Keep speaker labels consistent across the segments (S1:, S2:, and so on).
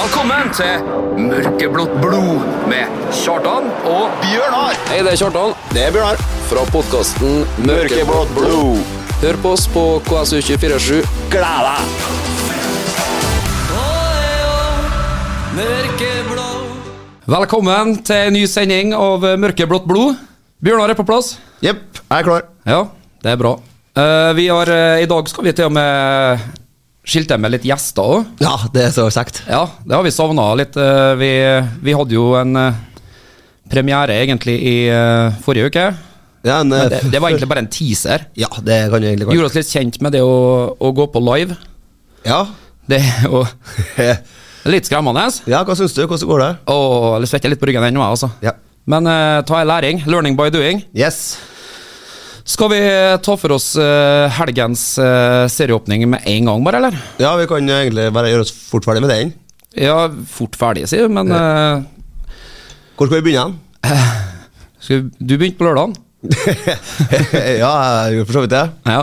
S1: Velkommen til Mørkeblått blod med Kjartan og
S2: Bjørnar
S3: Hei, det er Kjartan
S2: Det er Bjørnar
S3: fra podkasten Mørkeblått
S2: blod
S3: Hør på oss på KSU247.
S2: Gled deg
S3: Velkommen til en ny sending av Mørkeblått blod. Bjørnar er på plass.
S2: Jepp, jeg er klar
S3: Ja, det er bra. Eh, vi har, eh, I dag skal vi til og med skilte med litt gjester òg.
S2: Ja, det er så sagt
S3: Ja, det har vi savna litt. Eh, vi, vi hadde jo en eh, premiere egentlig i eh, forrige uke.
S2: ja, en,
S3: Men det, det var egentlig bare en teaser.
S2: Ja, det kan du egentlig godt
S3: Gjorde oss litt kjent med det å, å gå på live.
S2: Ja
S3: Det er jo litt skremmende.
S2: Ja, hva synes du? Hvordan går det?
S3: Åh, jeg svetter litt på ryggen ennå, jeg, altså.
S2: Ja
S3: Men eh, ta en læring. Learning by doing.
S2: Yes
S3: Skal vi eh, ta for oss eh, helgens eh, serieåpning med en gang, bare, eller?
S2: Ja, vi kan egentlig bare gjøre oss fort ferdig med den
S3: Ja, fort ferdig, sier du, men eh,
S2: Hvor skal vi begynne?
S3: skal vi, Du begynte på lørdagen?
S2: ja, jeg gjorde for så vidt det
S3: Ja.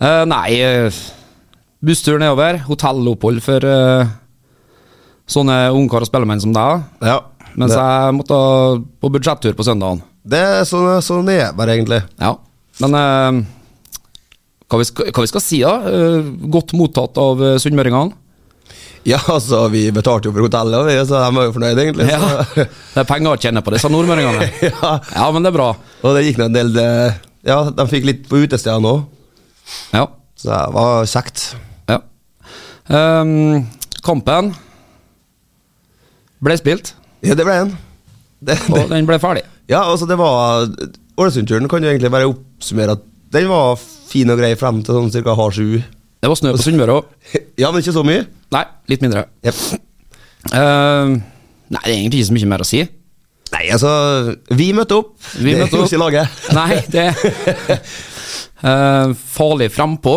S3: Eh, nei eh, Bussturen er over. Hotellopphold for eh, sånne ungkar og spellemenn som deg.
S2: Ja
S3: Mens
S2: det,
S3: jeg måtte på budsjettur på søndagen.
S2: det er sånn, sånn det er bare egentlig
S3: Ja, men eh, hva, vi skal, hva vi skal si da? Eh, godt mottatt av eh, sunnmøringene.
S2: Ja, altså, vi betalte jo for hotellet og vi, Så de var jo fornøyd egentlig
S3: Ja.
S2: så.
S3: Det er penger å tjene på disse nordmøringene.
S2: Ja.
S3: ja, men det er bra.
S2: Og det gikk nå en del eh, Ja, de fikk litt på utestedene også
S3: Ja.
S2: Så det var kjekt
S3: ja. Ehm, kampen ble spilt,
S2: Ja, det ble en. Det,
S3: og den ble ferdig.
S2: ja, altså det var Ålesundturen kan jo egentlig bare oppsummere at den var fin og grei frem til sånn cirka halv sju.
S3: Det var snø på Sunnmøre òg.
S2: Ja, men ikke så mye.
S3: Nei, litt mindre.
S2: Jep.
S3: Ehm, nei, det er egentlig ikke så mye mer å si.
S2: Nei, altså Vi møtte opp.
S3: Vi
S2: det
S3: møtte
S2: gjorde
S3: opp.
S2: ikke laget.
S3: Nei, det uh, Farlig frempå,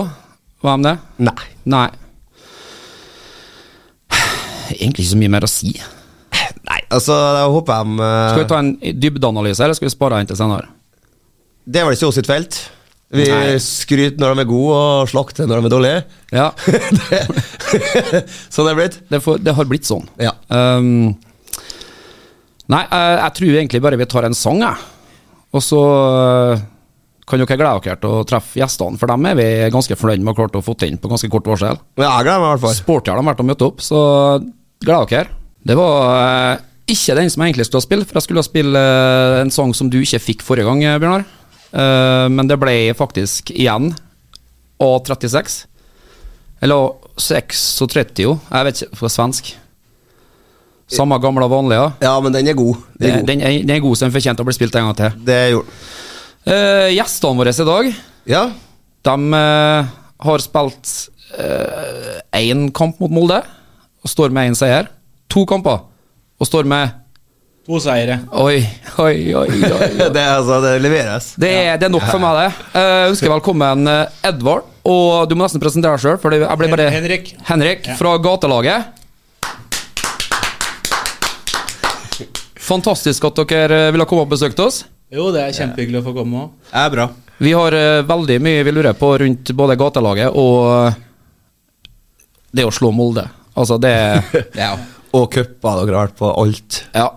S3: var de det?
S2: Nei.
S3: Nei. Egentlig ikke så mye mer å si.
S2: Nei, altså jeg håper de eh,
S3: Skal vi ta en dybdeanalyse, eller skal vi spare den til senere?
S2: Det er vel ikke oss sitt felt. Vi
S3: Nei.
S2: skryter når de er gode, og slakter når de er dårlige.
S3: Ja,
S2: Det- sånn er det blitt.
S3: det, får, det har blitt sånn.
S2: Ja.
S3: Ehm, nei, eh, jeg tror egentlig bare vi tar en sang, jeg. Og så eh, kan dere glede dere til å treffe gjestene, for dem er vi ganske fornøyd med å ha klart å få inn på ganske kort varsel.
S2: Men jeg gleder meg i hvert fall.
S3: Sporty har de vært og møtt opp, så gleder dere. Det var eh, ikke den som jeg egentlig skulle ha spilt, for jeg skulle ha spilt eh, en sang som du ikke fikk forrige gang, eh, Bjørnar. Eh, men det ble faktisk igjen A36. Eller 36, jo. Jeg vet ikke, på svensk. Samme gamle vanlige. Eh,
S2: Ja, men den er god. Den er god.
S3: Den er, den er god, så den fortjente å bli spilt en gang til.
S2: Det gjorde den.
S3: Eh, gjestene våre i dag
S2: Ja.
S3: de eh, har spilt eh, én kamp mot Molde og står med én seier. To kamper og står med
S4: To seire.
S3: Oi, oi, oi. oi.
S2: Det, er altså, det leveres.
S3: Det er, det er nok for meg, det. Jeg ønsker velkommen eh, Edvard. Og du må nesten presentere deg sjøl, for jeg ble bare
S4: Hen- Henrik.
S3: Henrik
S4: Ja.
S3: fra Gatelaget. Fantastisk at dere eh, ville komme og besøke oss.
S4: Jo, det er kjempehyggelig å få komme òg.
S2: er bra.
S3: Vi har eh, veldig mye vi lurer på rundt både gatelaget og eh, det å slå Molde. Altså, det Ja.
S2: Og cupa dere har vært på alt.
S3: ja.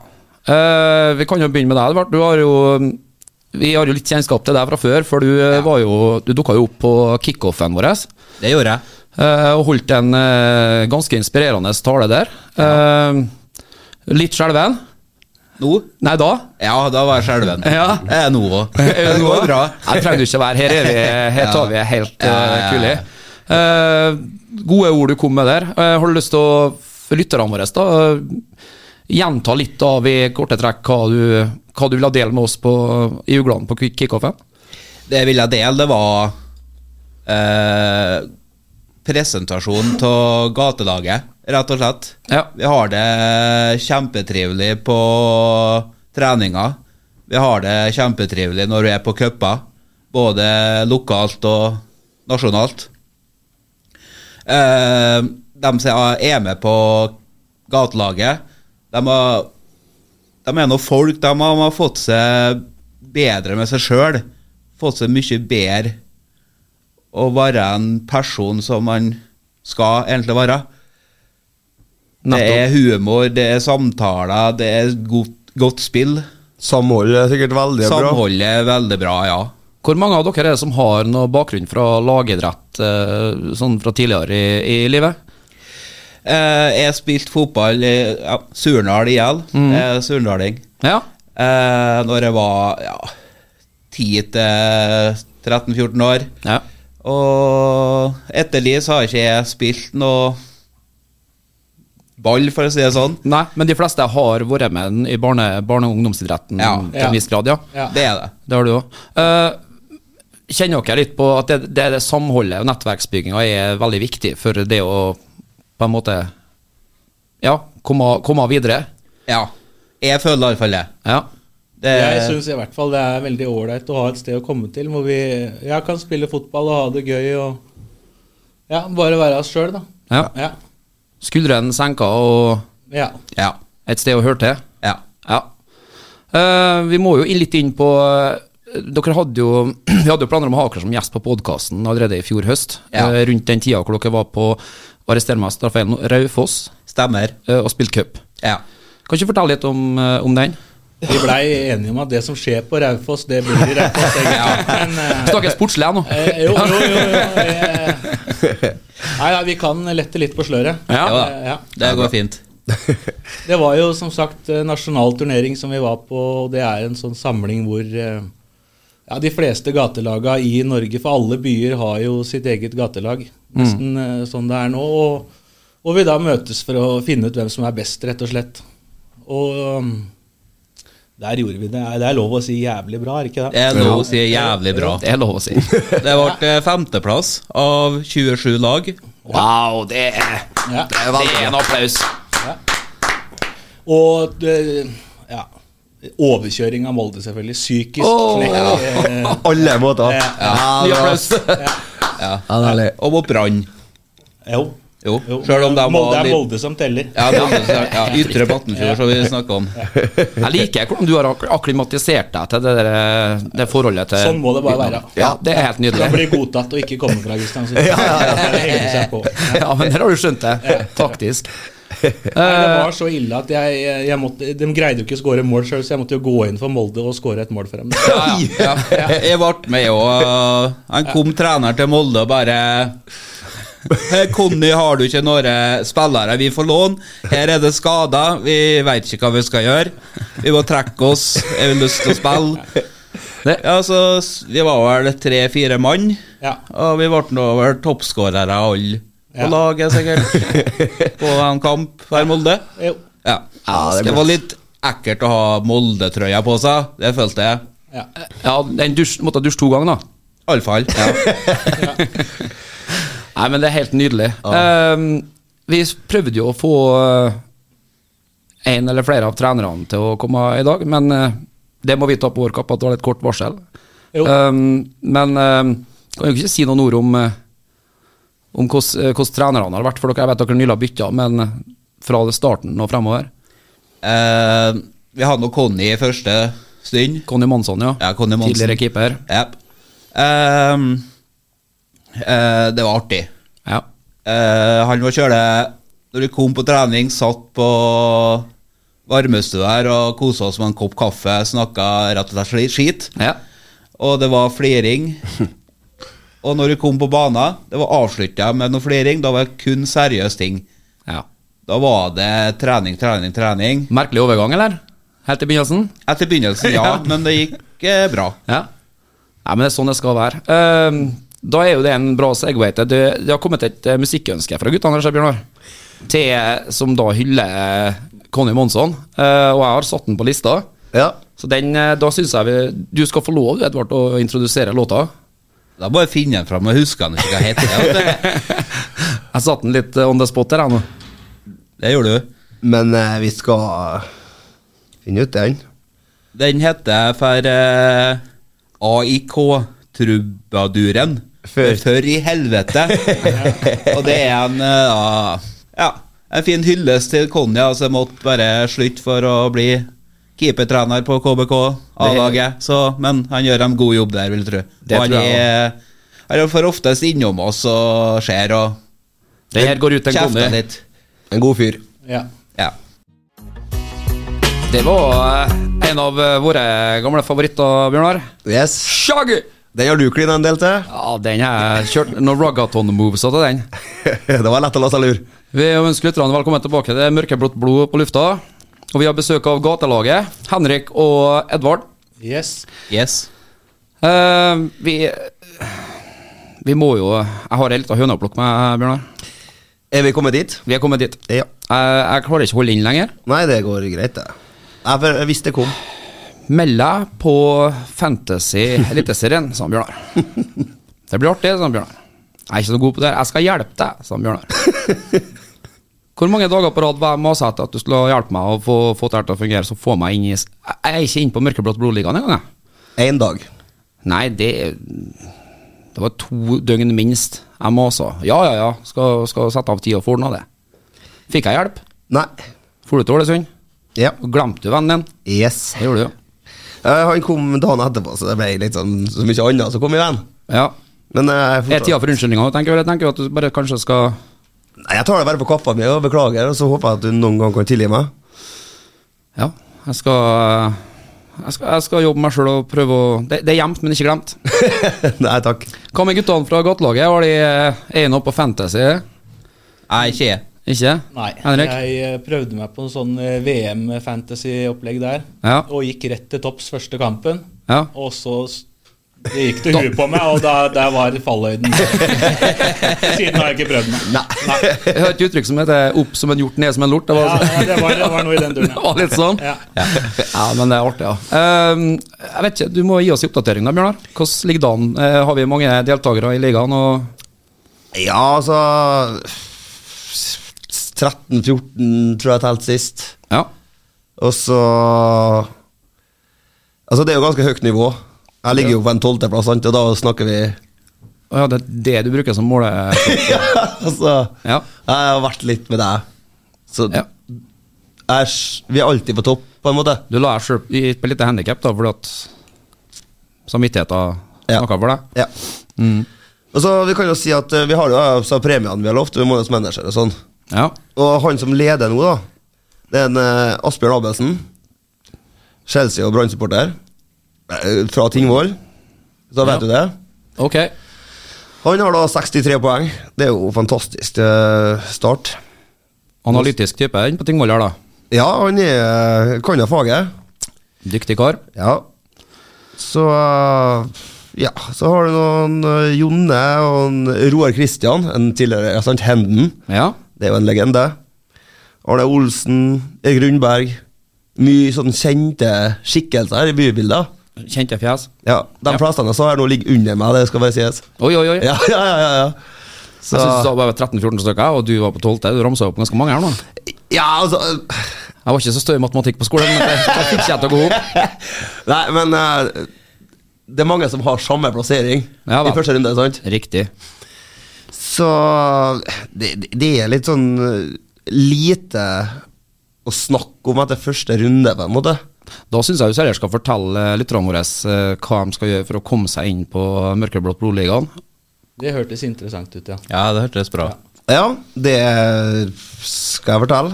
S3: Eh, vi kan jo begynne med deg, Edvard. Du har jo Vi har jo litt kjennskap til deg fra før, for du eh, var jo Du dukka jo opp på kickoffen vår.
S5: Det gjorde jeg.
S3: eh, og holdt en eh, ganske inspirerende tale der. Eh, litt skjelven.
S5: Nå?
S3: Nei, da.
S5: Ja, da var jeg skjelven.
S3: Ja.
S5: Jeg er nå òg.
S3: Er
S5: Det
S3: du
S5: går
S3: nå?
S5: bra.
S3: Nei, trenger du ikke være. Her, er vi, her tar vi helt
S5: Ja, ja,
S3: uh,
S5: ja.
S3: kule. Eh, gode ord du kom med der. Eh, har du lyst til å, for lytterne våre, da, eh, gjenta litt av i korte trekk hva du, hva du vil ha delt med oss på, i uglene på kick- kickoffen?
S5: Det jeg ville dele, det var eh, presentasjon av gatelaget, rett og slett.
S3: Ja.
S5: Vi har det kjempetrivelig på treninga. Vi har det kjempetrivelig når vi er på cuper, både lokalt og nasjonalt. Eh, de som er med på gatelaget, de, har, de er nå folk. De har, de har fått seg bedre med seg sjøl. Fått seg mye bedre å være en person som man skal egentlig være. Det
S3: Nettopp.
S5: er humor, det er samtaler, det er godt, godt spill.
S2: Samholdet er sikkert veldig bra.
S5: Samholdet er veldig bra, ja.
S3: Hvor mange av dere er det som har noe bakgrunn fra lagidrett eh, sånn fra tidligere i, i livet?
S5: Eh, jeg spilte fotball i ja, Surnadal IL.
S2: Mm.
S5: Eh, Surndaling.
S3: Ja.
S5: Eh, når jeg var ja, 10-13-14 år.
S3: ja.
S5: Og etter det så har ikke jeg spilt noe ball, for å si det sånn.
S3: Nei, men de fleste har vært med i barne-, barne og ungdomsidretten
S5: Ja.
S3: til
S4: Ja.
S3: en viss grad, ja.
S4: Ja.
S5: Det er det.
S3: Det har du òg. kjenner dere litt på at det, det, det samholdet og nettverksbygginga er veldig viktig for det å på en måte Ja, komme, komme videre?
S5: Ja. Jeg føler iallfall det.
S3: Ja.
S5: det
S4: Jeg syns i hvert fall det er veldig ålreit å ha et sted å komme til hvor vi Jeg kan spille fotball og ha det gøy og Ja, bare være oss sjøl, da.
S3: ja.
S4: Ja.
S3: Skuldrene senka og
S4: ja.
S5: Ja.
S3: et sted å høre til?
S5: ja.
S3: Ja. Eh, vi må jo inn litt inn på eh, Dere hadde jo Vi hadde jo planer om å ha dere som gjest på podkasten allerede i fjor høst.
S5: Ja.
S3: eh, rundt den tida hvor dere var på Arrester meg, Straffeien Raufoss
S5: Stemmer.
S3: eh, og spilte cup.
S5: Ja.
S3: Kan ikke du fortelle litt om, eh, om den?
S4: Vi blei enige om at det som skjer på Raufoss, det blir i Raufoss. egentlig. Men eh,
S3: Snakker jeg sportslig jeg nå?
S4: eh, jo, jo, jo. jo eh, Nei, ja, vi kan lette litt på sløret.
S3: Ja.
S5: Jo da.
S4: Eh, ja.
S5: Det går fint.
S4: Det var jo som sagt eh, nasjonal turnering som vi var på, og det er en sånn samling hvor eh, ja, de fleste gatelaga i Norge, for alle byer har jo sitt eget gatelag, nesten eh, sånn det er nå, og, og vi da møtes for å finne ut hvem som er best, rett og slett. Og um, der gjorde vi det. Det er lov å si jævlig bra, er det ikke det?
S5: Det er noe å si jævlig bra.
S3: Det er lov å si.
S5: Det ble eh, femteplass av 27 lag.
S3: Wow, det er,
S4: Ja.
S3: det er, det er en applaus.
S4: Og det, ja, overkjøring av Molde, selvfølgelig. Psykisk
S3: Åh.
S4: knekk. eh,
S2: Alle måter.
S4: Ja.
S2: Ja,
S3: Ny
S2: det var-
S3: applaus.
S2: Ja, det er litt-
S5: Og mot Brann.
S4: Jo.
S5: Jo,
S4: jo.
S5: selv om de var
S4: Molde, Det
S5: litt-
S4: er Molde som teller.
S5: Ja, Molde, ja, Ytre Battenfjord, som vi snakker om.
S3: Jeg liker hvordan du har ak- akklimatisert deg til det, der, eh, det forholdet til
S4: Sånn må det bare være.
S3: Ja, det er helt
S4: Det
S3: nydelig.
S4: blir godtatt å ikke komme fra Kristiansund. Det henger seg på. Nei,
S3: Ja, men der har du skjønt det. Taktisk.
S4: det var så ille at jeg, jeg måtte, de greide jo ikke å skåre mål sjøl, så jeg måtte jo gå inn for Molde og skåre et mål for dem.
S5: Ja, ja, ja. Jeg ble med og Han kom treneren til Molde og bare «Her, Conny, har du ikke noen spillere vi får låne? Her er det skader. Vi veit ikke hva vi skal gjøre. Vi må trekke oss. Jeg har lyst til å spille.
S3: Det-
S5: Ja, så s- Vi var vel tre-fire mann,
S4: Ja.
S5: og vi ble nå vel toppskårere alle
S4: Ja.
S5: på laget, sikkert. På en kamp her i Molde.
S4: Jo.
S5: Ja.
S2: Ja, det
S5: det,
S2: er
S5: var litt ekkelt å ha Molde-trøya på seg. Det følte jeg.
S4: Ja.
S3: Ja, den dusj, måtte dusje to ganger, da.
S5: Iallfall. Ja.
S3: Nei, men det er helt nydelig. Ehm, vi prøvde jo å få én eller flere av trenerne til å komme i dag, men eh, det må vi ta på vår kappe at det var litt kort varsel.
S4: Jo.
S3: Ehm, men um, kan jo ikke si noen ord om eh, Om hvordan eh, hvordan trenerne har vært, for dere, jeg vet dere nylig har bytta, men eh, fra det starten og fremover.
S5: Eh, vi hadde nå Conny i første stund.
S3: Conny Monsson, ja.
S5: Ja, Conny Monsen.
S3: Tidligere keeper.
S5: Jep. Ehm, eh, det var artig.
S3: Ja.
S5: Eh, han var kjøle Når vi kom på trening, satt på varmestua her og kosa oss med en kopp kaffe, snakka rett og slett skit.
S3: ja.
S5: Og det var fliring. Og når vi kom på banen, det var avslutta med noe fliring. Da var det kun seriøse ting.
S3: ja.
S5: Da var det trening, trening, trening.
S3: Merkelig overgang, eller? Helt i begynnelsen?
S5: Etter begynnelsen, ja, men det gikk eh, bra.
S3: Ja. Nei, men det er sånn det skal være. Ehm, da er jo det en bra segway til Det, det har kommet et eh, musikkønske fra guttene, her, Bjørnar. Til som da hyller eh, Conny Monsson. Eh, og jeg har satt den på lista.
S2: Ja.
S3: Så den, eh, da syns jeg vi, du skal få lov, du, Edvard, å introdusere låta.
S5: Da må jeg finne den fram. Jeg husker den ikke hva den heter. vet du.
S3: Jeg satte den litt eh, on the spot der, jeg nå.
S5: Det gjorde du.
S2: Men eh, vi skal finne ut den.
S5: Den heter for eh, AIK Trubaduren.
S2: Før.
S5: Før i helvete. Og det er en eh, da, Ja, en fin hyllest til Konja, så jeg måtte bare slutte for å bli keepertrener på KBK, A-laget. Så- Men han gjør en god jobb der, vil jeg tro.
S2: Det
S5: og han
S2: tror jeg
S5: er, han er for oftest innom oss og ser og
S3: Den her går ut til en
S5: kjefter
S3: Conny.
S5: litt.
S2: En god fyr.
S4: Ja.
S5: Ja.
S3: Det var eh, en av eh, våre gamle favoritter, Bjørnar.
S2: Yes.
S3: Shaggy!
S2: Den har du klina en del til.
S3: Ja, den har jeg kjørt noen ragaton-moves av til den.
S2: det var lett å la seg lure.
S3: Vi ønsker lytterne velkommen tilbake til Mørkeblått blod på lufta. Og vi har besøk av gatelaget, Henrik og Edvard.
S4: Yes.
S5: Yes.
S3: Eh, vi Vi må jo Jeg har ei lita høne å plukke med, Bjørnar.
S2: Er vi kommet dit?
S3: Vi er kommet dit.
S2: Ja.
S3: Jeg, jeg klarer ikke å holde inn lenger.
S2: Nei, det går greit, det. Jeg, for- jeg visste det kom.
S3: Meld deg på Fantasy Eliteserien, sa han Bjørnar. Det blir artig, sa han Bjørnar. Jeg er ikke så god på det her. Jeg skal hjelpe deg, sa han Bjørnar. Hvor mange dager på rad var jeg masa etter at du skulle hjelpe meg å få, få det her til å fungere, så få meg inn i s- Jeg er ikke inne på Mørkeblått blodligaen engang, jeg.
S2: Én dag.
S3: Nei, det Det var to døgn minst jeg masa. Ja, ja, ja, skal, skal sette av tid og få ordna det. Fikk jeg hjelp?
S2: Nei.
S3: Dro du til Ålesund?
S2: Ja.
S3: Glemte du vennen din?
S2: Yes.
S3: Det gjorde du, jo.
S2: Eh, han kom dagen etterpå, så det ble litt sånn så mye annet. Så kom igjen.
S3: Ja.
S2: Men eh,
S3: Er
S2: jeg,
S3: tida
S2: forstår-
S3: for unnskyldninger nå, tenker jeg. Jeg tenker jo at du bare kanskje skal
S2: Nei, jeg tar det bare på kappa mi og beklager, og så håper jeg at du noen gang kan tilgi meg.
S3: Ja, jeg skal eh, Jeg skal, jeg skal jobbe meg sjøl og prøve å det, det er gjemt, men ikke glemt.
S2: Nei, takk.
S3: Hva med guttene fra gatelaget? Har de eh, Er de nå på Fantasy?
S5: Nei, ikke jeg.
S3: Ikke?
S4: Nei.
S3: Henrik?
S4: Jeg eh, prøvde meg på en sånn VM-fantasy-opplegg der.
S3: Ja.
S4: Og gikk rett til topps første kampen.
S3: Ja.
S4: Og så s- det gikk til huet på meg, og da, der var fallhøyden. Siden har jeg ikke prøvd meg.
S3: Jeg har et uttrykk som heter 'opp som en hjort, ned som en lort'. Det var,
S4: Ja, ja, det, var, det var noe i den
S3: det
S4: duren.
S3: var litt sånn.
S4: Ja.
S3: Ja, men det er artig, ja. Ehm, jeg vet ikke, Du må gi oss en oppdatering, da, Bjørnar. Hvordan ligger det an? Eh, har vi mange deltakere i ligaen? Og
S2: Ja, altså 13-14 tror jeg telt sist.
S3: ja,
S2: Og så Altså, det er jo ganske høyt nivå. Jeg ligger jo på en tolvteplass, sant, og da snakker vi
S3: Å ja, det er det du bruker som måle...
S2: Altså,
S3: Ja.
S2: jeg har vært litt med deg, så
S3: Ja.
S2: jeg er s- vi er alltid på topp, på en måte.
S3: Du la deg selv i et lite handikap, da, fordi at samvittigheten
S2: Ja.
S3: snakka for deg?
S2: Ja.
S3: Mm.
S2: Og så Vi kan jo si at eh, vi har jo altså, premiene vi har lovt, vi må hos manager og sånn.
S3: Ja.
S2: Og han som leder nå, da, det er en eh, Asbjørn Abelsen. Chelsea og Brann-supporter. eh, Fra Tingvoll. Da vet du det.
S3: Ok.
S2: Han har da 63 poeng. Det er jo fantastisk eh, start.
S3: Analytisk type inn på Tingvoll her, da.
S2: Ja, han er, eh, kan jo faget.
S3: Dyktig kar.
S2: Ja. Så eh, Ja, så har du noen eh, Jonne og en Roar Kristian, en tidligere ja, sant, Henden.
S3: Ja.
S2: Det er jo en legende. Arne Olsen, Erik Rundberg. Mye sånn kjente skikkelser her i bybildet.
S3: Kjente fjes.
S2: Ja, De
S3: Ja.
S2: fleste jeg sa her nå, ligger under meg, det skal bare sies.
S3: Oi, oi, oi.
S2: Ja, ja, ja, ja, ja. Så,
S3: Jeg synes det var bare 13-14 stykker, og du var på 12. Du ramsa opp ganske mange her nå.
S2: ja, altså eh,
S3: Jeg var ikke så støy i matematikk på skolen, men det, det fikk jeg til å gå opp.
S2: Nei, men eh, det er mange som har samme plassering
S3: Ja da.
S2: i første runde, sant?
S3: Riktig.
S2: Så det, det- det er litt sånn eh, lite å snakke om etter første runde, på en måte.
S3: Da syns jeg jo seriøst skal fortelle eh, lytterne våre eh, hva de skal gjøre for å komme seg inn på Mørkeblått blodligaen.
S4: Det hørtes interessant ut, ja.
S5: Ja, det hørtes bra ut.
S2: Ja, det skal jeg fortelle.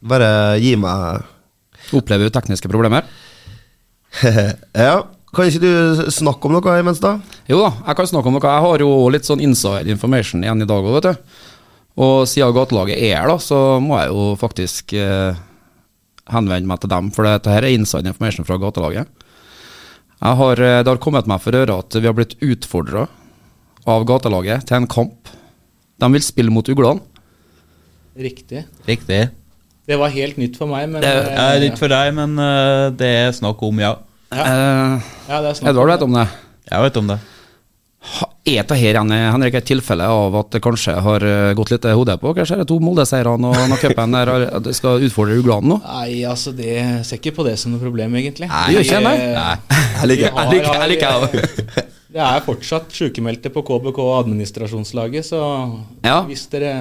S2: Bare gi meg
S3: Opplever jo tekniske problemer.
S2: Ja, kan ikke du snakke om noe imens, da?
S3: Jo da, jeg kan snakke om noe. Jeg har jo litt sånn inside information igjen i dag òg, vet du. Og siden gatelaget er her, da, så må jeg jo faktisk eh, henvende meg til dem. For dette her er inside information fra gatelaget. Jeg har, eh, det har kommet meg for øre at vi har blitt utfordra av gatelaget til en kamp. De vil spille mot uglene.
S4: Riktig.
S5: Riktig.
S4: Det var helt nytt for meg, men
S5: Det
S4: eh,
S5: er litt for deg, men eh, det er snakk om, ja.
S3: Eh,
S4: ja, det er snakk
S3: Edvard vet om det.
S5: Jeg vet om det.
S3: Ha- Er det her igjen, eh, Henrik, et tilfelle av at det kanskje har eh, gått litt hodet på? Kanskje er det to Molde-seirene og når cupen der har- at det skal utfordre uglene nå?
S4: Nei, altså det jeg ser ikke på det som noe problem, egentlig.
S3: Nei, det gjør ikke jeg, nei.
S4: Eh,
S2: Jeg
S4: vi
S2: liker
S4: har-
S3: jeg liker- jeg liker
S4: Det er fortsatt sykemeldte på KBK og administrasjonslaget, så
S3: Ja.
S4: hvis dere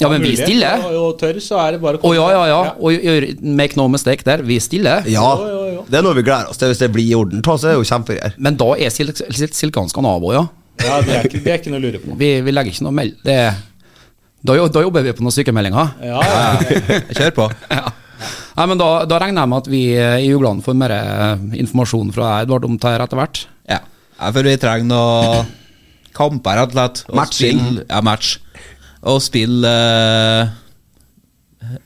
S3: Ja, men vi
S4: mulighet
S3: stiller.
S4: og, og tør, så er det bare å
S3: Å ja, ja, ja. Og gjør- make no mistake der, vi stiller.
S2: Ja,
S4: Jo, jo, jo.
S2: det er noe vi gleder oss til hvis det blir i orden. Ta, så er det jo kjempegreier.
S3: Men da er sil sil silkehanskene av òg, ja.
S4: Ja, det er, ikke, det er ikke noe å lure på.
S3: Vi, vi legger ikke noe meld... Det, Da, jo- da jobber vi på noen sykemeldinger.
S4: Ja, ja.
S5: Jeg kjører på.
S3: Ja. Nei, men da, da regner jeg med at vi eh, i Jugland får mer eh, informasjon fra Edvard om det her etter hvert.
S5: Ja. ja, for vi trenger noe kamper, rett og slett. Og
S2: Matching.
S5: spille- Ja, match. Og spille eh,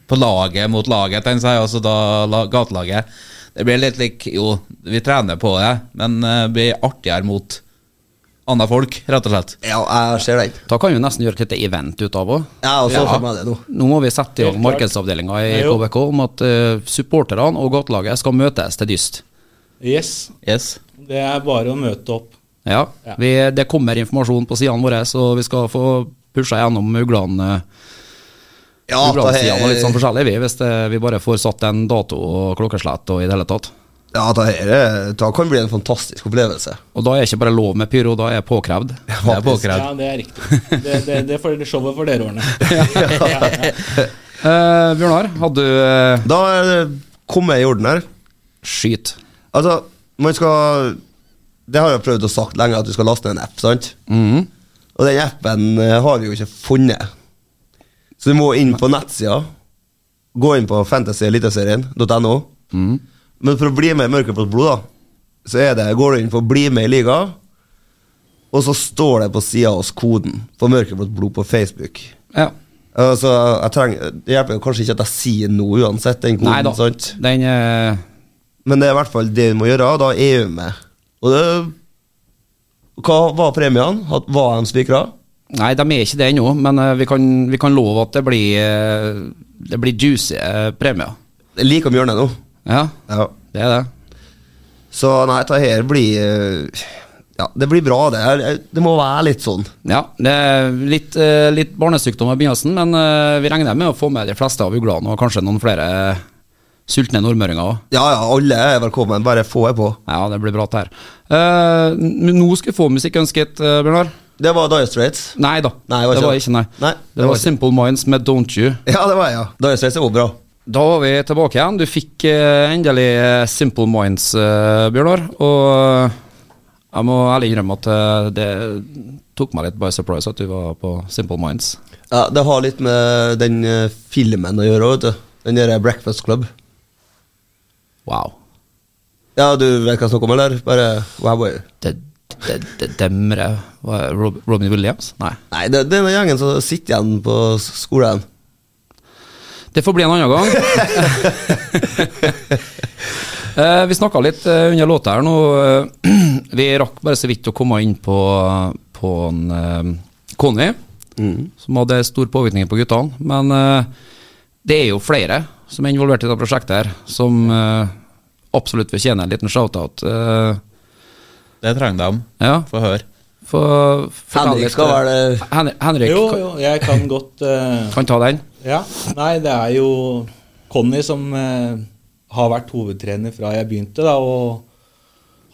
S5: på laget mot laget, tenkte jeg, altså da la- gatelaget. Det blir litt lik Jo, vi trener på det, men eh, blir artigere mot andre folk, rett og slett.
S2: Ja, jeg ser den.
S3: Da kan vi jo nesten gjøre et lite event ut av òg.
S2: Jeg har også fått med det nå.
S3: Nå må vi sette i gang
S4: Helt klart.
S3: markedsavdelinga i
S4: Ja, jo.
S3: KBK om at eh, supporterne og gatelaget skal møtes til dyst.
S4: Yes.
S5: Yes.
S4: Det er bare å møte opp.
S3: Ja,
S4: Ja.
S3: vi, det kommer informasjon på sidene våre, så vi skal få pusha gjennom eh, Ugland-sidene
S2: Ja, da har
S3: og litt sånn forskjellig, vi, hvis det, vi bare får satt en dato og klokkeslett og i det hele tatt.
S2: ja, da her er- da kan det bli en fantastisk opplevelse.
S3: Og da er ikke bare lov med pyro, da er jeg påkrevd.
S5: Det er påkrevd.
S4: Ja, det er riktig. Det, det, det får showet for dere årene.
S3: Eh, Bjørnar, hadde du eh,
S2: Da er det kommet i orden her.
S3: Skyt.
S2: Altså, man skal Det har jeg prøvd å sagt lenge, at du skal laste ned en app, sant? Mm-hmm.
S3: Mhm.
S2: Og den appen eh, har vi jo ikke funnet. Så du må inn på nettsida. Gå inn på fantasyeliteserien.no. Mm-hmm. Men for å bli med i Mørkeblått blod, da, så er det, går du inn på 'bli med i liga', og så står det på sida av oss koden for Mørkeblått blod på Facebook.
S3: Ja.
S2: Altså, jeg trenger, Det hjelper jo kanskje ikke at jeg sier noe uansett, den
S3: Nei da.
S2: koden. Sånn sant?
S3: Den eh,
S2: Men det er i hvert fall det vi må gjøre, og da er vi med. Og det, hva var premiene? At- Var de spikra?
S3: Nei, de er ikke det ennå, men eh, vi, kan, vi kan love at det blir, eh, det blir juicy eh, premier.
S2: Det er Like om hjørnet nå.
S3: Ja,
S2: Ja.
S3: det er det.
S2: Så nei, dette her blir eh, Ja, det blir bra, det. her. Det må være litt sånn.
S3: Ja, det er litt, eh, litt barnesykdom i begynnelsen, men eh, vi regner med å få med de fleste av uglene, og kanskje noen flere eh, sultne nordmøringer òg.
S2: Ja ja, alle er velkommen, bare få jeg på.
S3: Ja, det blir bra, det her. Eh, n- nå skal vi få musikkønsket, uh, Bjørnar.
S2: Det var Dire Straits.
S3: Nei da,
S2: Nei, det var
S3: det
S2: ikke
S3: var
S2: det.
S3: ikke, nei.
S2: Nei,
S3: det, var Simple Minds med Don't You.
S2: Ja, det var jeg, ja. Dire Straits er også bra.
S3: Da var vi tilbake igjen. Du fikk eh, endelig eh, Simple Minds, eh, Bjørnar. Og eh, jeg må ærlig innrømme at eh, det tok meg litt by surprise at du var på Simple Minds.
S2: Ja, Det har litt med den eh, filmen å gjøre, vet du. Den der Breakfast Club.
S3: Wow.
S2: Ja, du vet hva jeg snakker om, eller? Bare wow, wow.
S3: Det, det, det demre Hva er det? Rob, Robin Williams? Nei.
S2: Nei, det, det er den gjengen som sitter igjen på skolen.
S3: Det får bli en annen gang. Eh, vi snakka litt eh, under låta her nå. eh, vi rakk bare så vidt å komme inn på, på en, eh, Conny, som hadde stor påvirkning på guttene. Men eh, det er jo flere som er involvert i dette prosjektet her, som eh, absolutt fortjener en liten shout-out. Eh,
S5: Det trenger de.
S3: ja,
S5: Få høre.
S3: for, for
S2: Henrik skal være det-
S3: eh, Hen, Henrik
S4: Jo,
S3: kan-
S4: jo, jeg kan godt eh,
S3: kan ta den.
S4: Ja. Nei, det er jo Conny som eh, har vært hovedtrener fra jeg begynte, da, og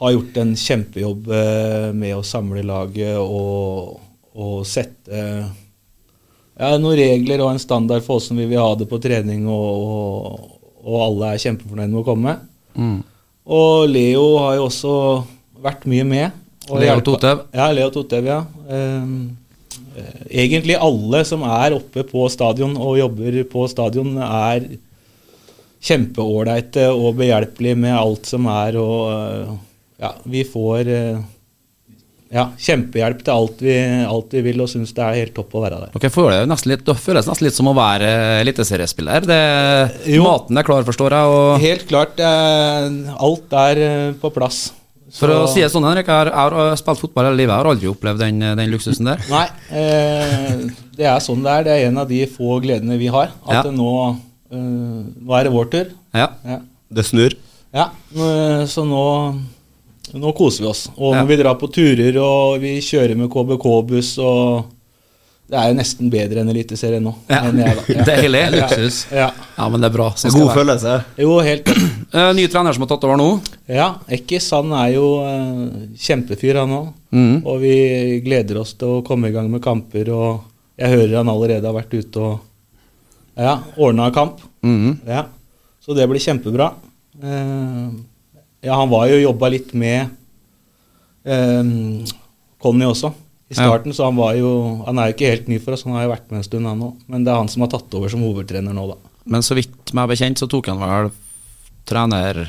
S4: har gjort en kjempejobb eh, med å samle laget og, og sette eh, ja, noen regler og en standard for hvordan vi vil ha det på trening, og, og, og alle er kjempefornøyd med å komme.
S3: Mm.
S4: Og Leo har jo også vært mye med. og
S3: Leo
S4: hjelpa-
S3: Totev.
S4: Ja, Leo Totev, ja. Ehm, eh, egentlig alle som er oppe på stadion og jobber på stadion, er kjempeålreite og behjelpelige med alt som er, og eh, ja, vi får eh, ja, kjempehjelp til alt vi, alt vi vil, og syns det er helt topp å være der.
S3: Dere føler jo nesten litt, det føles nesten litt som å være eh, eliteseriespiller. Det,
S4: Jo.
S3: maten er klar, forstår jeg. Og
S4: Helt klart, eh, alt er eh, på plass.
S3: for å
S4: Så-
S3: si det sånn, Henrik, jeg har, jeg har spilt fotball hele livet. Jeg har aldri opplevd den, den luksusen der.
S4: Nei, eh, det er sånn det er. Det er en av de få gledene vi har. At
S3: Ja.
S4: det nå, eh, nå er det vår tur.
S3: Ja.
S4: Ja.
S2: Det snur.
S4: ja. nå- eh, Så nå, nå koser vi oss. Og
S3: Ja.
S4: når vi drar på turer og vi kjører med KBK-buss og Det er jo nesten bedre enn Eliteserien nå.
S3: Ja.
S4: mener jeg da. Ja.
S3: Det er hellig.
S4: Ja.
S3: Luksus.
S4: Ja.
S3: Ja, men det er bra. Sånn skal
S2: God
S3: det være.
S2: følelse.
S4: Jo, helt
S3: Eh, Ny trener som har tatt over nå.
S4: Ja, Ekkis han er jo eh, kjempefyr, han òg.
S3: Mhm.
S4: Og vi gleder oss til å komme i gang med kamper. Og jeg hører han allerede har vært ute og ja, ordna kamp.
S3: Mhm.
S4: Ja. Så det blir kjempebra. Eh, ja, han var jo jobba litt med eh, Conny også I starten, så han var jo Han er jo ikke helt ny for oss, han har jo vært med en stund, han òg. Men det er han som har tatt over som hovedtrener nå, da.
S3: Men så vidt meg bekjent, så tok han vel trener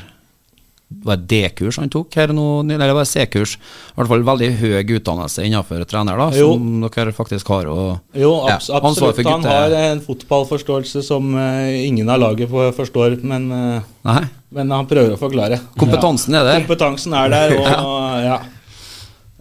S3: Var det D-kurs han tok her nå, nylig, eller var det C-kurs? I hvert fall veldig høy utdannelse innenfor trener, da,
S4: Jo.
S3: som dere faktisk har. Og
S4: Jo, abs
S3: Ja, ansvar
S4: absolutt.
S3: for
S4: Han
S3: gutter-
S4: har en fotballforståelse som eh, ingen av laget får- forstår, men, eh,
S3: Nei,
S4: men han prøver å forklare.
S3: kompetansen er
S4: Ja.
S3: der.
S4: Kompetansen er der, og ja.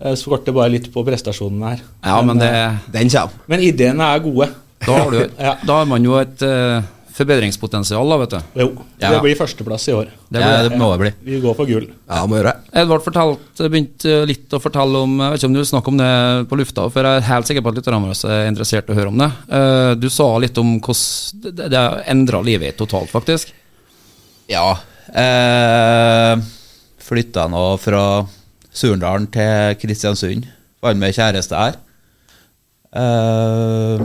S4: Jeg Skorter bare litt på prestasjonene her.
S3: Ja, men det,
S4: eh,
S2: Den kommer.
S4: men ideene er gode.
S3: da, har du,
S4: Ja.
S3: da har man jo et eh, forbedringspotensial, da, vet du.
S4: Jo,
S5: Ja.
S4: det blir førsteplass i år.
S3: Det
S5: ja,
S3: blir-
S5: det må det bli.
S4: Vi går for gull.
S2: Ja, må gjøre det.
S3: Edvard fortalt, begynte litt å fortelle om Jeg vet ikke om du vil snakke om det på lufta, for jeg er helt sikker på at lytterne våre er interessert i å høre om det. Eh, Du sa litt om hvordan det- det har endra livet ditt totalt, faktisk.
S5: Ja. Eh, flytta nå fra Surndalen til Kristiansund. Fant meg kjæreste her. Eh,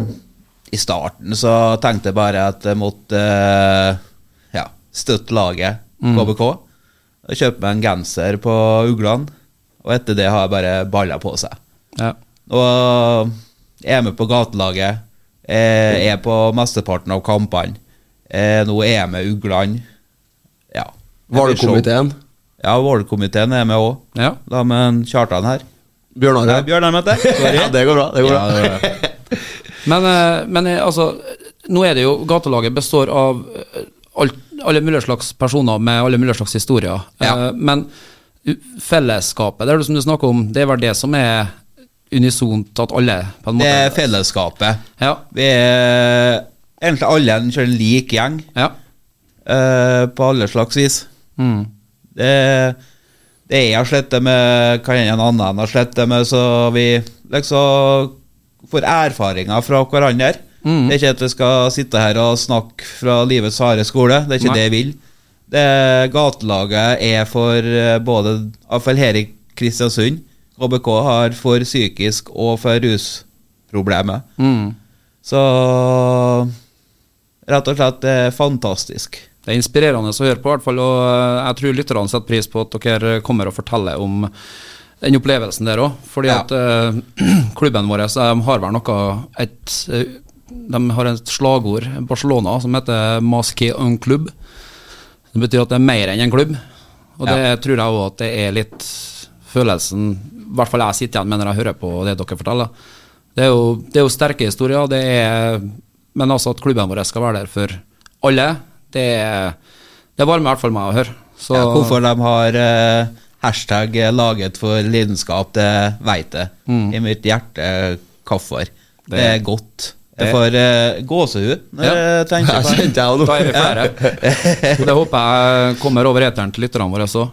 S5: I starten så tenkte jeg bare at jeg måtte eh, ja, støtte laget
S2: Mm.
S5: KBK. Og kjøpe meg en genser på Uglan. Og etter det har jeg bare balla på seg.
S3: Ja.
S5: Og er med på gatelaget. eh, Er på mesteparten av kampene. eh, Nå er jeg med Ugland. Ja.
S2: Valgkomiteen.
S5: Ja, Valgkomiteen er med òg.
S3: ja.
S5: Da med en Kjartan her.
S2: Bjørn
S5: Nei,
S2: Are.
S5: Bjørn er med der. Sorry.
S2: Ja, det går bra. Det går bra.
S5: Ja, det var-
S3: Men, eh, men eh, altså, nå er det jo Gatelaget består av eh, alt, alle mulige slags personer med alle mulige slags historier.
S5: Ja.
S3: Eh, Men u- fellesskapet, det er det som du snakker om, det er vel det som er unisont at alle på en
S5: Det er
S3: måte
S5: fellesskapet.
S3: Ja.
S5: Vi er egentlig alle en kjører lik gjeng
S3: ja.
S5: eh, på alle slags vis.
S3: Mm.
S5: Det, det jeg har slitt det med, kan hende en annen har slitt det med, så vi liksom får erfaringer fra hverandre.
S3: Mm.
S5: Det er ikke at vi skal sitte her og snakke fra livets harde skole, det er ikke
S3: Nei.
S5: det jeg vil. Det Gatelaget er for eh, både Iallfall her i Kristiansund. KBK har for psykisk og for rusproblemet.
S3: Mm.
S5: Så rett og slett det er fantastisk.
S3: Det er inspirerende å høre på, i hvert fall, og eh, jeg tror lytterne setter pris på at dere kommer og forteller om den opplevelsen der òg. Fordi
S5: Ja.
S3: at eh, klubben vår så de har vel noe et, eh, De har et slagord, Barcelona, som heter 'Masque un club'. Det betyr at det er mer enn en klubb. Og det tror jeg òg at det er litt følelsen I hvert fall jeg sitter igjen med når jeg hører på det dere forteller. Det er jo, det er jo sterke historier, det er, men altså at klubben vår skal være der for alle, det, er- det varmer i hvert fall meg å høre. Så,
S5: Ja, hvorfor de har eh, hashtag eh, laget for lidenskap, det veit jeg.
S3: Mm.
S5: I mitt hjerte hvorfor. Det, er godt. Jeg
S3: det-
S5: får eh, gåsehud når
S3: Ja.
S5: jeg tenker
S2: Jeg
S5: på det.
S2: kjente jeg
S3: Da er
S2: også nå.
S3: vi flere. Og det håper jeg kommer over eteren til lytterne våre også.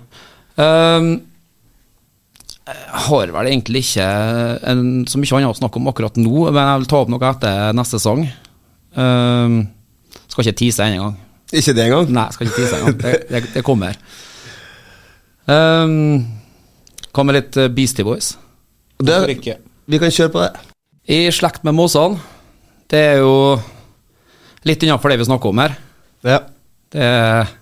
S3: Ehm, jeg har vel egentlig ikke en, så mye annet å snakke om akkurat nå, men jeg vil ta opp noe etter neste sang. Ehm, skal ikke tease en gang.
S2: Ikke det engang?
S3: Nei, jeg skal ikke tease engang. Det, det, det kommer. Ehm, Hva med litt eh, Beastie Boys?
S4: Hvorfor
S2: Det,
S4: ikke?
S2: vi kan kjøre på det.
S3: I slekt med måsene. Det er jo litt innenfor det vi snakker om her.
S2: Ja.
S3: Det er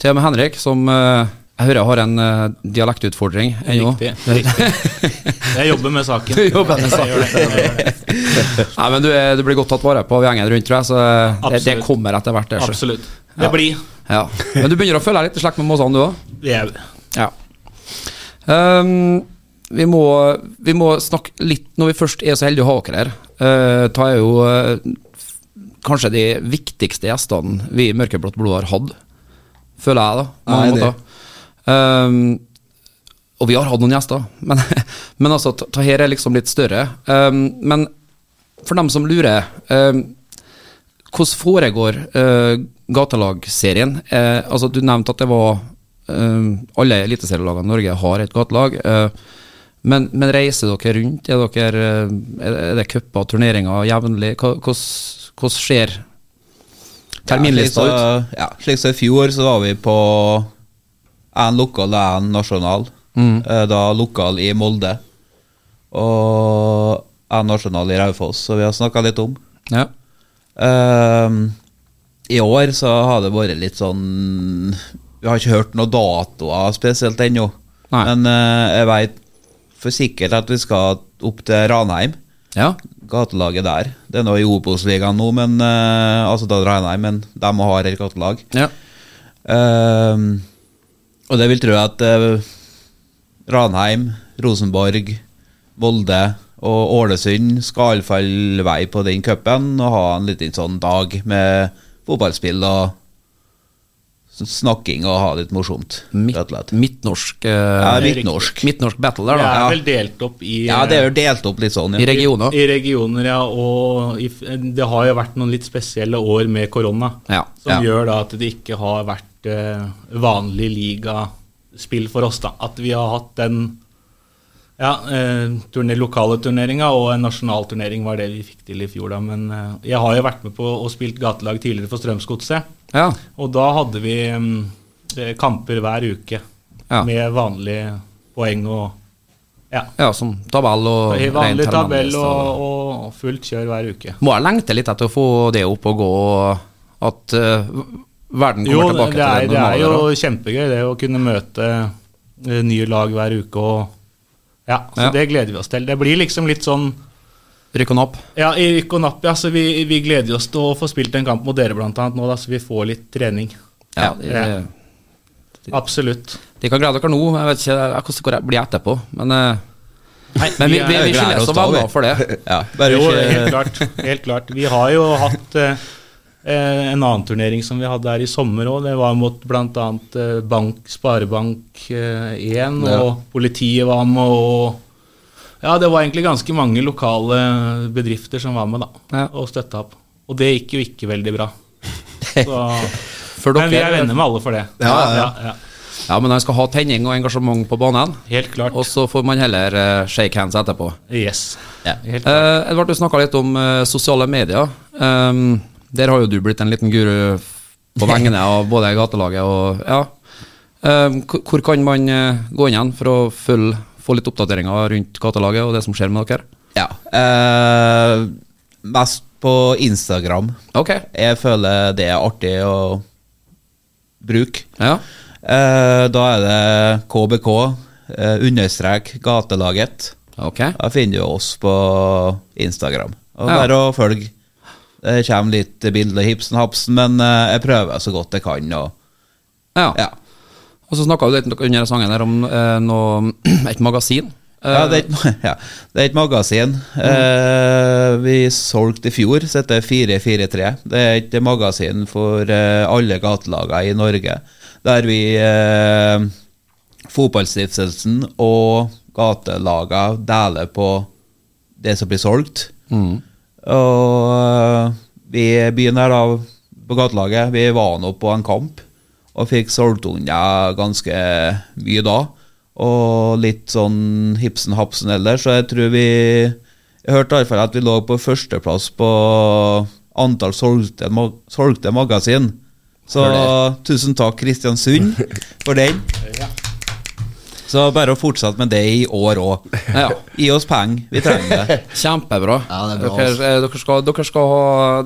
S3: til og med Henrik, som eh, jeg hører har en eh, dialektutfordring ennå.
S4: Riktig. riktig. Jeg jobber med saken.
S3: Du jobber med saken.
S4: Jeg gjør det, jeg gjør det.
S3: Nei, men du, er, du blir godt tatt vare på av gjengen rundt, tror jeg, så eh, det, det
S4: Absolutt.
S3: kommer etter hvert. Det, så.
S4: Absolutt. Det blir
S3: ja. Men du begynner å føle deg litt i slekt med måsene, du òg?
S4: det er-
S3: Ja. Ehm, vi, må, vi må snakke litt, når vi først er så heldige å ha dere her, uh, tar jeg jo eh, f- kanskje de viktigste gjestene vi i Mørkeblått blod har hatt, føler jeg, da. på mange
S2: Nei, det-
S3: måter. Ehm, og vi har hatt noen gjester, men, men altså, ta, ta her er liksom litt større. Ehm, men for dem som lurer, ehm, hvordan foregår eh, gatelagsserien? Eh, altså, du nevnte at det var eh, alle eliteserielagene i Norge har et gatelag. eh, men, men reiser dere rundt? Er, dere, eh, er er det cuper og turneringer jevnlig? Hva- Hvordan hvordan ser terminlista
S5: ja,
S3: ut?
S5: slik så- Ja, slik som i fjor, så var vi på én lokal og én nasjonal.
S3: Mm.
S5: Eh, Da lokal i Molde. Og én nasjonal i Raufoss, så vi har snakka litt om.
S3: Ja.
S5: Ehm, I år så har det vært litt sånn Vi har ikke hørt noen datoer spesielt ennå.
S3: Nei.
S5: Men eh, jeg veit for sikkert at vi skal opp til Ranheim.
S3: Ja.
S5: Gatelaget der. Det er nå i Obos-ligaen nå, men eh, altså da Ranheim, men de har et gatelag.
S3: ja.
S5: Ehm, og det vil tro at eh, Ranheim, Rosenborg, Molde og Ålesund skal falle vei på den cupen og ha en liten sånn dag med fotballspill og s- snakking og ha det litt morsomt.
S3: Midt,
S5: rett og slett.
S3: midtnorsk eh,
S5: Ja, midtnorsk.
S3: Midtnorsk battle
S4: Det
S3: der, da.
S5: Ja.
S4: er vel delt opp i
S5: Ja, det er jo delt opp litt sånn,
S3: I
S5: ja.
S3: regioner.
S4: I regioner, ja. Og i, f- det har jo vært noen litt spesielle år med korona.
S3: Ja,
S4: som
S3: ja.
S4: gjør da at det ikke har vært eh, vanlig ligaspill for oss. da. At vi har hatt den ja, eh, turne, lokale turneringa og en nasjonal turnering var det vi fikk til i fjor. da. Men eh, jeg har jo vært med på og spilt gatelag tidligere for Strømsgodset.
S3: Ja.
S4: Og da hadde vi mm, eh, kamper hver uke
S3: Ja.
S4: med vanlige poeng og ja,
S3: ja, som tabell og rein
S4: vanlig tabell
S3: Hernandez og-
S4: og, og fullt kjør hver uke.
S3: Må jeg lengte litt etter å få det opp og gå, og at eh, verden kommer
S4: Jo, det
S3: tilbake til
S4: er, det
S3: det
S4: er
S3: normale?
S4: jo
S3: der, da?
S4: kjempegøy det å kunne møte eh, nye lag hver uke. Og, ja, så
S3: Ja.
S4: Det gleder vi oss til. Det blir liksom litt sånn
S3: Rykke den opp?
S4: ja, i rykk og napp. Ja, så vi, vi gleder oss til å få spilt en kamp mot dere blant annet nå, da, så vi får litt trening.
S3: Ja. de,
S4: Ja. Absolutt.
S3: de kan glede dere nå. Jeg vet ikke jeg- hvordan det går- blir etterpå, men, eh, men vi, vi, vi
S5: gleder
S3: skiller
S5: oss
S3: oss og
S5: da,
S3: var
S5: vi.
S3: glad for det.
S5: ja bare
S4: Jo, eh, helt
S5: ikke
S4: klart. Helt klart. Vi har jo hatt eh, eh, en annen turnering som vi hadde her i sommer òg. Det var mot bl.a. Eh, Bank Sparebank1, og politiet var med. og ja, Det var egentlig ganske mange lokale bedrifter som var med da,
S3: Ja.
S4: og støtta opp. Og det gikk jo ikke veldig bra. Så,
S3: For
S4: men vi er
S3: dere,
S4: venner med alle for det.
S2: Ja, ja.
S4: ja.
S3: ja, men han skal ha tenning og engasjement på banen,
S4: Helt klart.
S3: og så får man heller eh, shake hands etterpå.
S4: Yes.
S5: Ja.
S4: Helt
S3: Eh, Edvard, du snakka litt om eh, sosiale medier. Ehm, der har jo du blitt en liten guru på vegne av både gatelaget og ja. Ehm, hvor- hvor kan man eh, gå inn igjen for å følge, få litt oppdateringer rundt gatelaget og det som skjer med dere?
S5: Ja. eh, mest på Instagram.
S3: Ok.
S5: Jeg føler det er artig å bruke.
S3: Ja.
S5: Eh, da er det KBK, eh, understrek gatelaget.
S3: Ok.
S5: Da finner du oss på Instagram. Og
S3: Ja.
S5: Bare å følge. Det kommer litt bilder hipsen hapsen, men eh, jeg prøver så godt jeg kan. Og,
S3: Ja.
S5: ja.
S3: Og så snakka du litt under sangen her om eh, noe, et magasin. Eh,
S5: Ja, det, er et, ja, det er et magasin. Eh, vi solgte i fjor, så heter det 443. Det er et magasin for eh, alle gatelagene i Norge. Der vi, eh, fotballstiftelsen og gatelagene deler på det som blir solgt.
S3: Eh, mm.
S5: Og eh, vi i byen her da, på gatelaget, vi var nå på en kamp og fikk solgt unna ganske mye da. Og litt sånn hipsen-hapsen ellers, så jeg tror vi Jeg hørte iallfall at vi lå på førsteplass på antall solgte, ma- solgte magasin. Så tusen takk, Kristiansund, for den. Så bare å fortsette med det i år òg.
S3: Ja.
S5: Gi oss penger, vi trenger det.
S3: Kjempebra.
S2: Ja, det er bra, altså.
S3: dere, eh, dere, skal, dere skal ha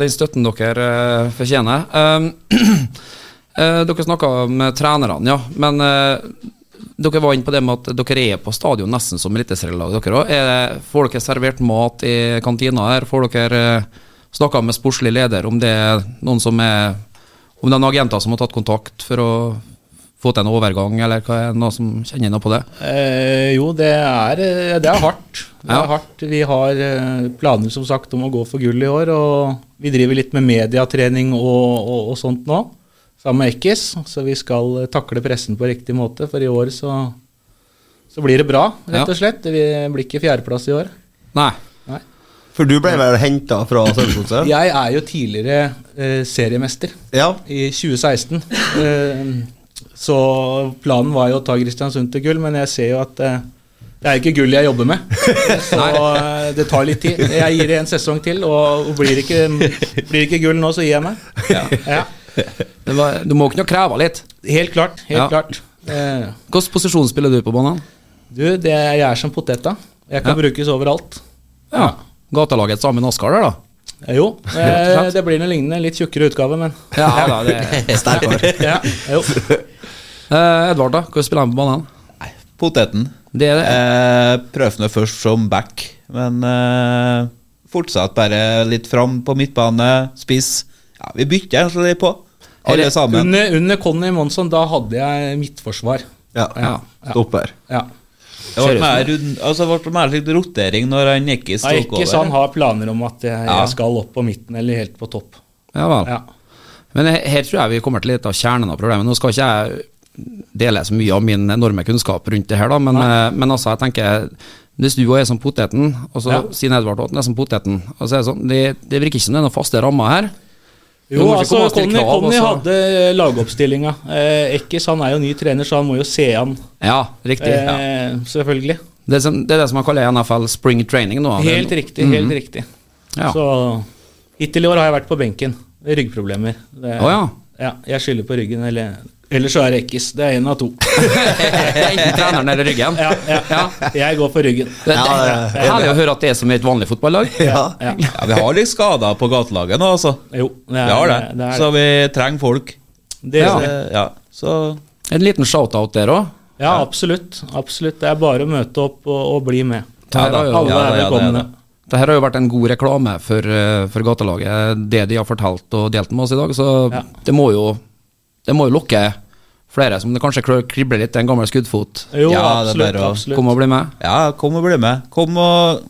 S3: den støtten dere eh, fortjener. Um, eh, dere snakka om eh, trenerne, ja. Men eh, dere var inne på det med at dere er på stadion nesten som eliteserielag, dere òg. Får dere servert mat i kantina her? Får dere eh, snakka med sportslig leder om det er noen som er Om det er noen agenter som har tatt kontakt for å få til en overgang, eller hva er det noe som kjenner noe på det?
S4: Eh, jo, det er, eh, det er hardt. Det
S3: Ja.
S4: er hardt. Vi har eh, planer som sagt om å gå for gull i år, og vi driver litt med mediatrening og, og, og sånt nå, sammen med Ekkis. Så vi skal eh, takle pressen på riktig måte, for i år så, så blir det bra,
S3: Ja.
S4: rett og slett. Vi blir ikke fjerdeplass i år.
S3: Nei.
S4: Nei.
S2: For du ble vel henta fra Strømsgodset?
S4: Jeg er jo tidligere eh, seriemester
S2: Ja.
S4: i 2016. Eh, så planen var jo å ta Kristiansund til gull, men jeg ser jo at eh, det er ikke gull jeg jobber med. Så eh, det tar litt tid. Jeg gir det en sesong til, og og blir det ikke, blir det ikke gull nå, så gir jeg meg. Ja.
S3: Det var, du må kunne kreve litt.
S4: Helt klart. Helt
S3: Ja.
S4: klart. Eh,
S3: Hvilken posisjon spiller du på banen?
S4: du, det, jeg er som poteta. Jeg kan
S3: Ja.
S4: brukes overalt.
S3: Ja. Gatelaget sammen med Oskar der, da.
S4: Eh, Jo,
S3: Rett og
S4: eh,
S3: slett.
S4: det blir noe lignende. Litt tjukkere utgave, men
S3: Ja, da, det.
S2: Sterkere.
S4: ja, jo.
S3: Eh, Edvard, da? Hvordan spiller han på banen?
S5: Nei, Poteten.
S3: Det er det.
S5: Eh, prøvde nå først som back, men eh, fortsatt bare litt fram på midtbane, spiss. Ja, vi bytter egentlig litt på, alle
S3: Eller
S5: sammen.
S4: Under, under Conny Monsson, da hadde jeg midtforsvar.
S2: Ja.
S4: Ja, ja.
S2: Stopper.
S4: Ja.
S5: Det ble mer, rund- altså, det ble mer litt rotering når han Jekkis
S4: Det er
S5: tok
S4: ikke
S5: over.
S4: sånn har planer om at jeg,
S5: Ja.
S4: jeg skal opp på midten eller helt på topp.
S3: Ja vel.
S4: Ja.
S3: Men he- her tror jeg vi kommer til litt av kjernen av problemet. Nå skal ikke jeg dele så mye av min enorme kunnskap rundt det her, da, men, eh, men altså, jeg tenker hvis du òg er som poteten, og så
S4: Ja.
S3: sier Edvard at han er som poteten og så er Det sånn, det, det virker ikke som det er noen faste rammer her. Du
S4: Jo,
S3: må ikke
S4: altså,
S3: komme og stille
S4: Conny,
S3: krav,
S4: Conny
S3: altså.
S4: hadde lagoppstillinga. Eh, Ekkis han er jo ny trener, så han må jo se an.
S3: Ja, riktig.
S4: Eh,
S3: Ja.
S4: Selvfølgelig.
S3: Det, er som, det er det som man kaller i NFL spring training nå. Det er
S4: Helt
S3: no- Mhm.
S4: riktig. helt riktig.
S3: Ja.
S4: Så hittil i år har jeg vært på benken. Ryggproblemer. Det-
S3: Å ja.
S4: ja. Jeg skylder på ryggen, eller Eller så er det Ekkis. Det er én av to.
S3: Enten treneren eller ryggen.
S4: Ja, ja.
S3: Ja.
S4: Jeg går for ryggen.
S3: Det, det,
S2: Ja, ja,
S3: det er herlig å høre at det er som i et vanlig fotballag.
S2: Ja.
S4: Ja.
S5: Ja, vi har litt skader på gatelaget nå, altså.
S4: Jo, det
S5: Vi
S4: er,
S5: har det.
S4: det, det, er,
S5: Så vi trenger folk.
S4: det
S3: Ja.
S5: Eh, Ja, så
S3: En liten shout-out der òg.
S4: Ja, absolutt. absolutt. Det er bare å møte opp og, og bli med.
S3: Ja da, ja da,
S4: Alle
S5: ja
S4: er
S5: da, ja da, ja da.
S4: velkomne.
S3: Dette har jo vært en god reklame for, eh, for gatelaget, det de har fortalt og delt med oss i dag. Så
S4: Ja.
S3: det, må jo, det må jo lokke flere som det kanskje klør- kribler litt, en gammel skuddfot.
S4: Jo,
S5: Ja, det er
S4: absolutt.
S5: bare å
S4: absolutt.
S3: Kom og bli med.
S5: ja, kom og bli med. Kom og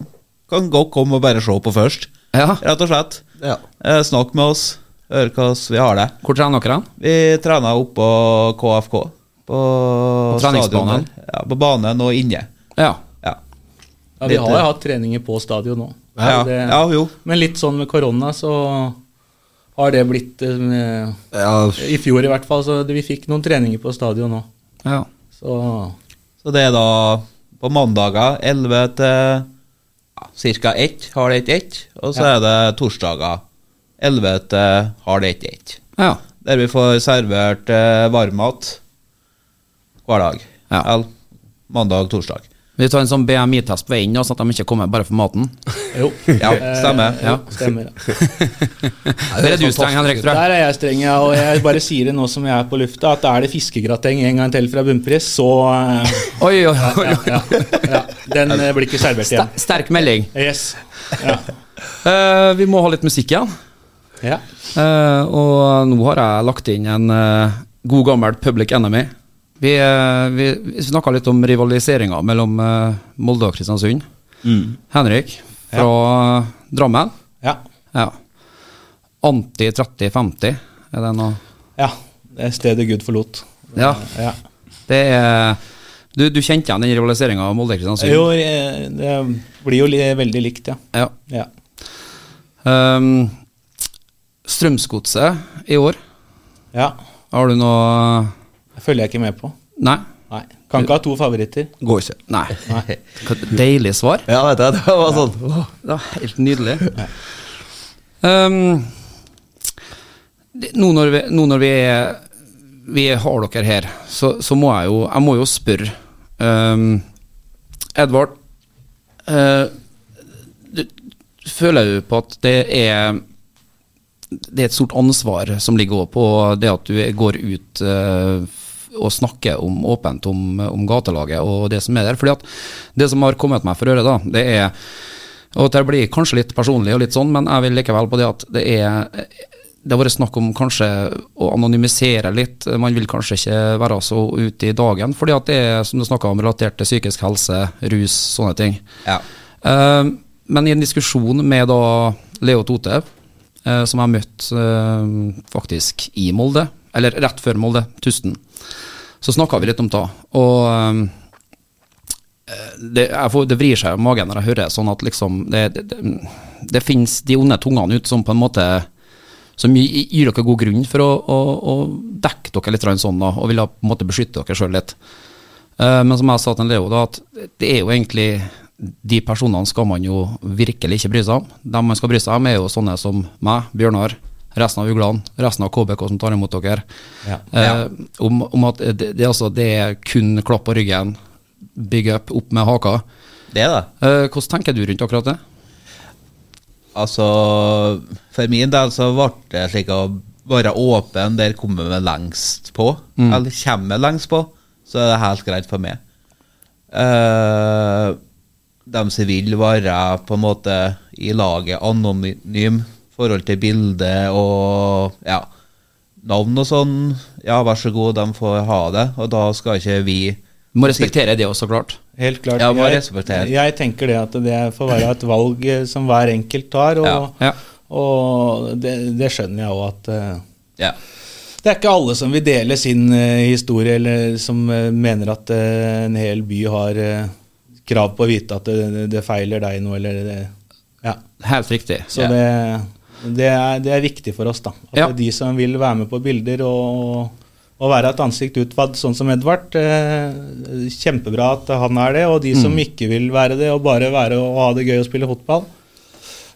S5: Kan godt komme og bare se på først,
S3: Ja,
S5: rett og slett.
S2: Ja.
S5: Eh, Snakk med oss. Hør hvordan vi har det.
S3: Hvor trener dere? hen?
S5: Vi trener oppå KFK. På,
S3: På treningsbanen?
S5: stadion der. Ja, på banen og inne.
S3: Ja.
S5: Ja.
S4: Ja, vi har jo hatt treninger på stadion nå.
S5: Ja,
S4: Det,
S5: ja, jo.
S4: Men litt sånn med korona, så har det blitt eh,
S2: Ja,
S4: I fjor i hvert fall, så vi fikk noen treninger på stadion nå.
S3: ja.
S4: Så
S5: Så det er da på mandager 11 til ja, ca. 1, halv 1, 1. Og så er det torsdager 11 til halv 1, 1.
S3: ja.
S5: Der vi får servert eh, varmmat hver dag.
S3: Ja.
S5: Eller mandag, torsdag.
S3: Vi tar en sånn BMI-test på veien, da, sånn at de ikke kommer bare for maten.
S4: jo.
S5: Ja,
S4: Eh,
S5: stemmer.
S4: jo, stemmer.
S3: Der er du streng, Henrik, tror jeg.
S4: Der er jeg streng, ja, og jeg bare sier det nå som jeg er på lufta, at er det fiskegrateng en gang til fra bunnpris, så eh,
S3: Oi, oi, oi.
S4: ja, ja, ja, Den eh, blir ikke servert igjen.
S3: Ster- Sterk melding.
S4: Yes. Ja.
S3: Eh, vi må ha litt musikk igjen.
S4: ja.
S3: Eh, og nå har jeg lagt inn en eh, god gammel public enemy. Vi, uh, vi, vi snakka litt om rivaliseringa mellom eh, Molde og Kristiansund.
S2: Mm.
S3: Henrik fra Drammen.
S4: Ja.
S3: Ja. Anti-30-50, er det noe
S4: ja. Det er stedet Gud forlot.
S3: Ja.
S4: Ja.
S3: Det er Du, du kjente igjen den rivaliseringa av Molde og Kristiansund?
S4: Jo, eh, det blir jo li veldig likt, ja.
S3: Ja.
S4: ja.
S3: Um, Strømsgodset i år,
S4: Ja.
S3: har du noe
S4: Det følger jeg ikke med på.
S3: Nei?
S4: Nei. Kan ikke ha to favoritter.
S2: Går ikke.
S3: Nei. Hva- Deilig svar.
S2: Ja, vet jeg. Det var sånn åh.
S3: Det var helt nydelig. Um, det- nå når vi, nå når vi, er- vi har dere her, så, så må jeg jo, jeg må jo spørre um, Edvard, eh, du, føler du på at det er det er et stort ansvar som ligger også på det at du går ut eh, f- og snakker om, åpent om, om gatelaget og det som er der. Fordi at det som har kommet meg for øre, da, det er Og det blir kanskje litt personlig og litt sånn, men jeg vil likevel på det at det er det har vært snakk om kanskje å anonymisere litt. Man vil kanskje ikke være så ute i dagen, fordi at det er som du snakket om, relatert til psykisk helse, rus, sånne ting.
S5: Ja.
S3: Eh, men i en diskusjon med da Leo Tote, eh, som jeg møtte eh, faktisk i Molde, eller rett før Molde, Tusten, så snakka vi litt om det. Og eh, det, jeg får, det vrir seg i magen når jeg hører sånn at liksom Det, det, det, det fins de onde tungene ute som på en måte som gi- gir dere god grunn for å, å, å dekke dere litt grann sånn da, og vil da på en måte beskytte dere sjøl litt. Eh, Men som jeg sa til Leo, da, at det er jo egentlig de personene skal man jo virkelig ikke bry seg om. De man skal bry seg om, er jo sånne som meg, Bjørnar, resten av uglene, resten av KBK som tar imot dere.
S4: Ja.
S3: Eh, om, om at det, det, er altså, det er kun klapp på ryggen, big up, opp med haka.
S5: Det, da.
S3: Eh, hvordan tenker du rundt akkurat det?
S5: Altså, for min del så ble det slik å være åpen, der kommer vi lengst på. Eller kommer vi lengst på, så er det helt greit for meg. Eh, eh, de som vil være på en måte i laget anonym i forhold til bilde og ja, navn og sånn, ja, vær så god, de får ha det. Og da skal ikke vi
S3: Må respektere det også, så klart.
S4: Helt klart.
S5: Ja, må
S4: jeg,
S5: respektere.
S4: jeg tenker det at det får være et valg eh, som hver enkelt tar, og,
S3: ja.
S5: Ja,
S4: og det, det skjønner jeg òg at eh,
S5: Ja.
S4: det er ikke alle som vil dele sin eh, historie, eller som eh, mener at eh, en hel by har eh, krav på å vite at eh, det, det feiler deg noe, eller det, ja.
S3: Helt riktig.
S4: Så det, det, er, det er viktig for oss, da. At
S3: Ja.
S4: de som vil være med på bilder og, og være et ansikt utad, sånn som Edvard. Eh, kjempebra at han er det. Og de som
S3: Mm.
S4: ikke vil være det, og bare være og ha det gøy og spille fotball.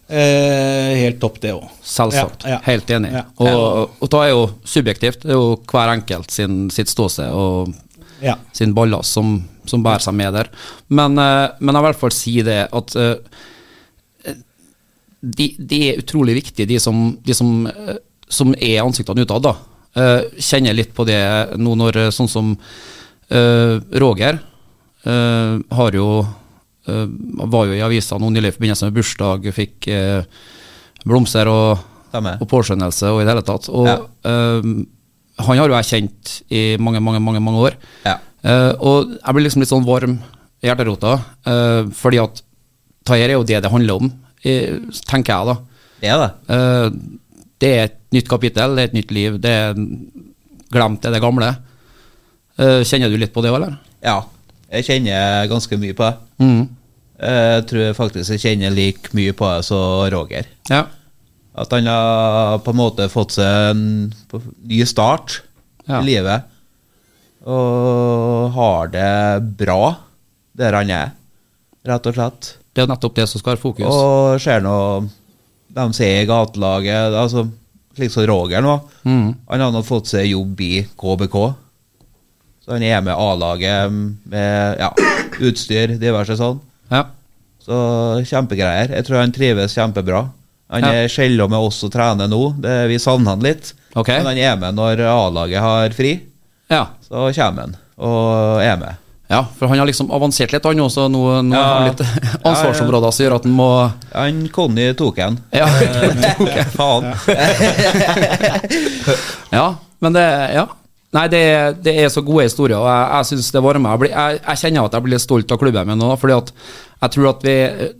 S4: Eh, helt topp, det òg.
S3: Selvsagt.
S4: Ja, ja.
S3: Helt enig.
S4: Ja.
S3: Og, og det er jo subjektivt. Det er jo hver enkelt sin, sitt ståsted og
S4: Ja.
S3: sin ballast som, som bærer seg med der. Men, eh, men jeg vil i hvert fall si det at eh, de, de er utrolig viktige, de som, de som, eh, som er ansiktene utad. da. Eh, Kjenner litt på det nå når eh, sånn som eh, Roger eh, har jo eh, var jo i avisa nå nylig i forbindelse med bursdag, fikk eh, blomster og,
S5: Stemmer.
S3: og påskjønnelse og i det hele tatt. Og eh, han har jo jeg kjent i mange, mange, mange, mange år.
S5: Ja.
S3: Eh, og jeg blir liksom litt sånn varm i hjerterota, eh, fordi at Tayer er jo det det handler om, eh, tenker jeg da.
S5: Det er det.
S3: Eh, det er et nytt kapittel, det er et nytt liv, det er glemt det, er det gamle. Eh, kjenner du litt på det òg, eller?
S5: Ja, jeg kjenner ganske mye på det. Jeg Eh, tror faktisk jeg kjenner like mye på det som Roger.
S3: Ja.
S5: At han har på en måte fått seg en på- ny start
S3: Ja.
S5: i livet. Og har det bra der han er, rett og slett.
S3: Det er jo nettopp det som skal ha fokus.
S5: Og ser nå de som er i gatelaget, altså, slik som Roger nå.
S3: Mm.
S5: Han har nå fått seg jobb i KBK. Så han er med A-laget med ja, utstyr, diverse sånn.
S3: ja.
S5: Så kjempegreier. Jeg tror han trives kjempebra. Han
S3: Ja.
S5: er sjelden med oss og trener nå. Det, vi savner han litt.
S3: Ok.
S5: Men han er med når A-laget har fri.
S3: ja.
S5: Så kommer han og er med.
S3: Ja, for han har liksom avansert litt, han også. Nå, nå
S5: Ja.
S3: har han litt ansvarsområder som gjør at han må
S5: Han Conny tok en.
S3: ja.
S5: Eh, Faen.
S3: ja, men det Ja. Nei, det, det er så gode historier, og jeg, jeg syns det varmer. Jeg, blir, jeg, jeg kjenner at jeg blir litt stolt av klubben min nå, fordi at jeg tror at vi,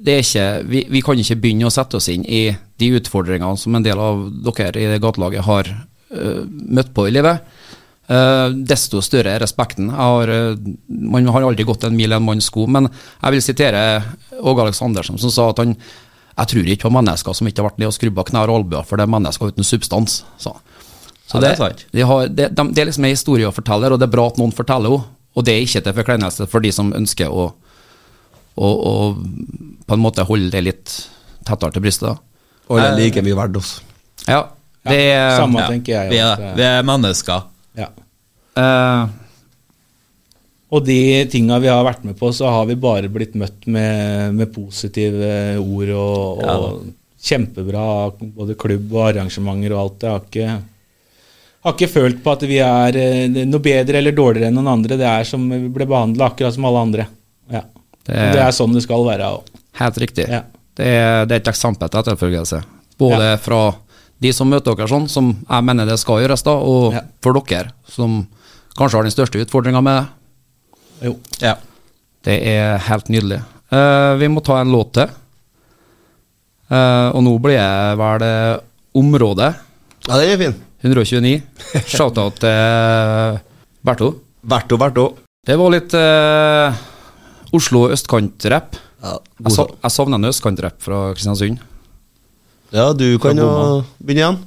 S3: det er ikke, vi, vi kan ikke begynne å sette oss inn i de utfordringene som en del av dere i gatelaget har øh, møtt på i livet. Eh, desto større er respekten. Jeg har, eh, man har aldri gått en mil i en manns sko, men jeg vil sitere Åge Aleksandersen, som sa at han jeg tror ikke på mennesker som ikke har vært nede og skrubba knær og albuer, for det er mennesker uten substans. sa han. Så
S5: Ja, det er sant.
S3: De har, det- de, det er liksom en historie å fortelle, og det er bra at noen forteller henne. Og det er ikke til forkleinelse for de som ønsker å, å, å på en måte holde det litt tettere til brystet. da.
S2: Alle er like mye verdt, altså.
S3: Ja, det er
S4: samme
S5: Ja,
S4: tenker jeg.
S5: Vi
S4: jo,
S5: er,
S4: at,
S5: det.
S4: eh,
S5: vi er mennesker.
S4: ja.
S3: eh,
S4: Og de tinga vi har vært med på, så har vi bare blitt møtt med, med positive eh, ord og, og kjempebra både klubb og arrangementer og alt. Jeg har ikke, har ikke følt på at vi er eh, noe bedre eller dårligere enn noen andre. Det er som vi ble behandla akkurat som alle andre. Ja.
S3: Det
S4: Det,
S3: er-
S4: er, sånn det skal være. og-
S3: Helt riktig.
S4: Ja.
S3: Det, er, det er et eksempel til etterfølgelse. Både fra de som møter dere sånn, som jeg mener det skal gjøres, da, og
S4: Ja.
S3: for dere, som kanskje har den største utfordringa med det.
S4: Jo.
S5: Ja.
S3: Det er helt nydelig. Eh, vi må ta en låt til. Eh, og nå blir jeg vel uh, Området
S2: Ja, den er fin.
S3: 129. Shout-out til eh, Berto.
S2: Verdt og verdt òg.
S3: Det var litt eh, Oslo østkant-rapp.
S2: Ja,
S3: Jeg, sa- jeg savner en østkant-rapp fra Kristiansund.
S2: ja, du kan jo begynne igjen.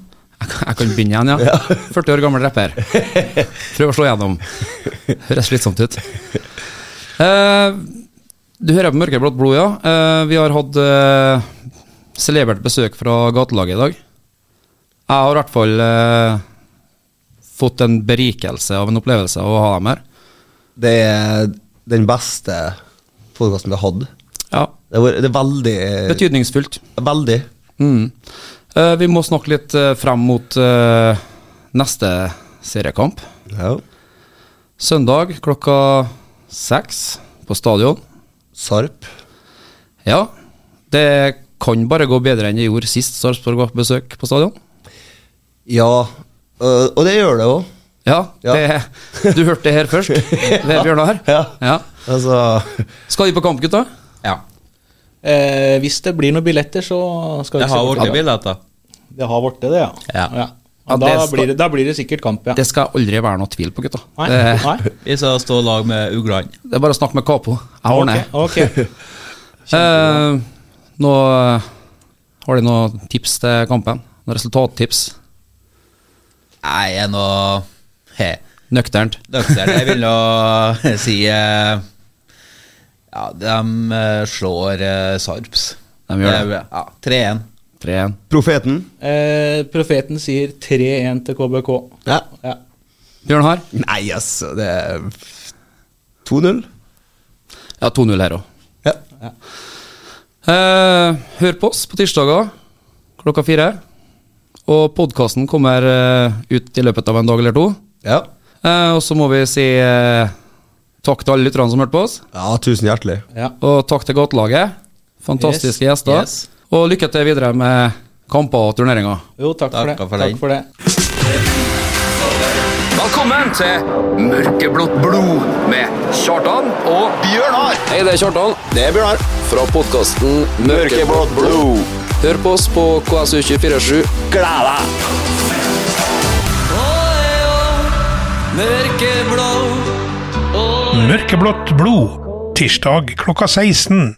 S3: Jeg kan, jeg kan begynne igjen, ja. 40 år gammel rapper. Prøv å slå gjennom. Høres slitsomt ut. Eh, du hører på Mørkeblått blod, ja. Eh, vi har hatt uh, celebert besøk fra gatelaget i dag. Jeg har i hvert fall eh, fått en berikelse av en opplevelse av å ha dem her.
S2: Det er den beste podkasten vi har hatt.
S3: Ja,
S2: Det er, det er veldig
S3: Betydningsfullt.
S2: Veldig.
S3: Mm. Eh, vi må snakke litt eh, frem mot eh, neste seriekamp.
S2: Ja.
S3: Søndag klokka seks på stadion.
S2: Sarp.
S3: Ja, det kan bare gå bedre enn det gjorde sist Sarpsborg var på besøk på stadion.
S2: Ja, øh, og det gjør det òg.
S3: Ja,
S2: Ja.
S3: Det, du hørte det her først. Ved Bjørnar.
S2: Ja.
S3: Ja.
S2: Altså
S3: Skal de på kamp, gutta?
S5: Ja.
S4: Eh, hvis det blir noen billetter, så skal
S5: Det
S4: vi se
S5: har
S4: bort
S5: blitt
S4: det.
S5: billetter.
S4: Det har blitt det, det, ja.
S5: Ja.
S4: Og
S3: Ja, det
S4: da,
S3: skal-
S4: blir det, da blir det sikkert kamp, ja.
S3: Det skal aldri være noe tvil på, gutta.
S4: Nei,
S3: Det,
S4: nei.
S5: Vi skal stå i lag med uglene.
S3: det er bare å snakke med Kapo. Jeg ordner.
S4: Ok, ok.
S3: Eh, nå eh, har de noen tips til kampen? Noen resultattips?
S5: Nei, jeg er nå he,
S3: Nøkternt.
S5: nøktern. Jeg vil nå si eh, Ja, de eh, slår eh, Sarps.
S3: De gjør
S5: det. Ja, 3-1.
S3: 3-1.
S2: Profeten.
S4: Eh, profeten sier 3-1 til KBK.
S2: Ja.
S4: Ja.
S3: Bjørnar?
S2: Nei, altså, det er 2-0.
S3: Ja, 2-0 her òg.
S2: Ja.
S3: Eh, hør på oss på tirsdager klokka fire. Og podkasten kommer eh, ut i løpet av en dag eller to.
S2: ja.
S3: Eh, og så må vi si eh, takk til alle lytterne som hørte på oss.
S2: Ja, tusen hjertelig.
S4: Ja.
S3: Og takk til gatelaget. Fantastiske gjester.
S5: yes.
S3: Og lykke til videre med kamper og turneringer.
S4: Jo, takk, for
S5: Takk
S4: det.
S5: for den.
S4: takk for det.
S1: Velkommen til Mørkeblått blod med Kjartan og Bjørnar.
S6: Hei, det er Kjartan. Det er Bjørnar. Fra podkasten Mørkeblått blod. Hør på oss på KSU247.
S7: Mørkeblått blod. Tirsdag klokka 16.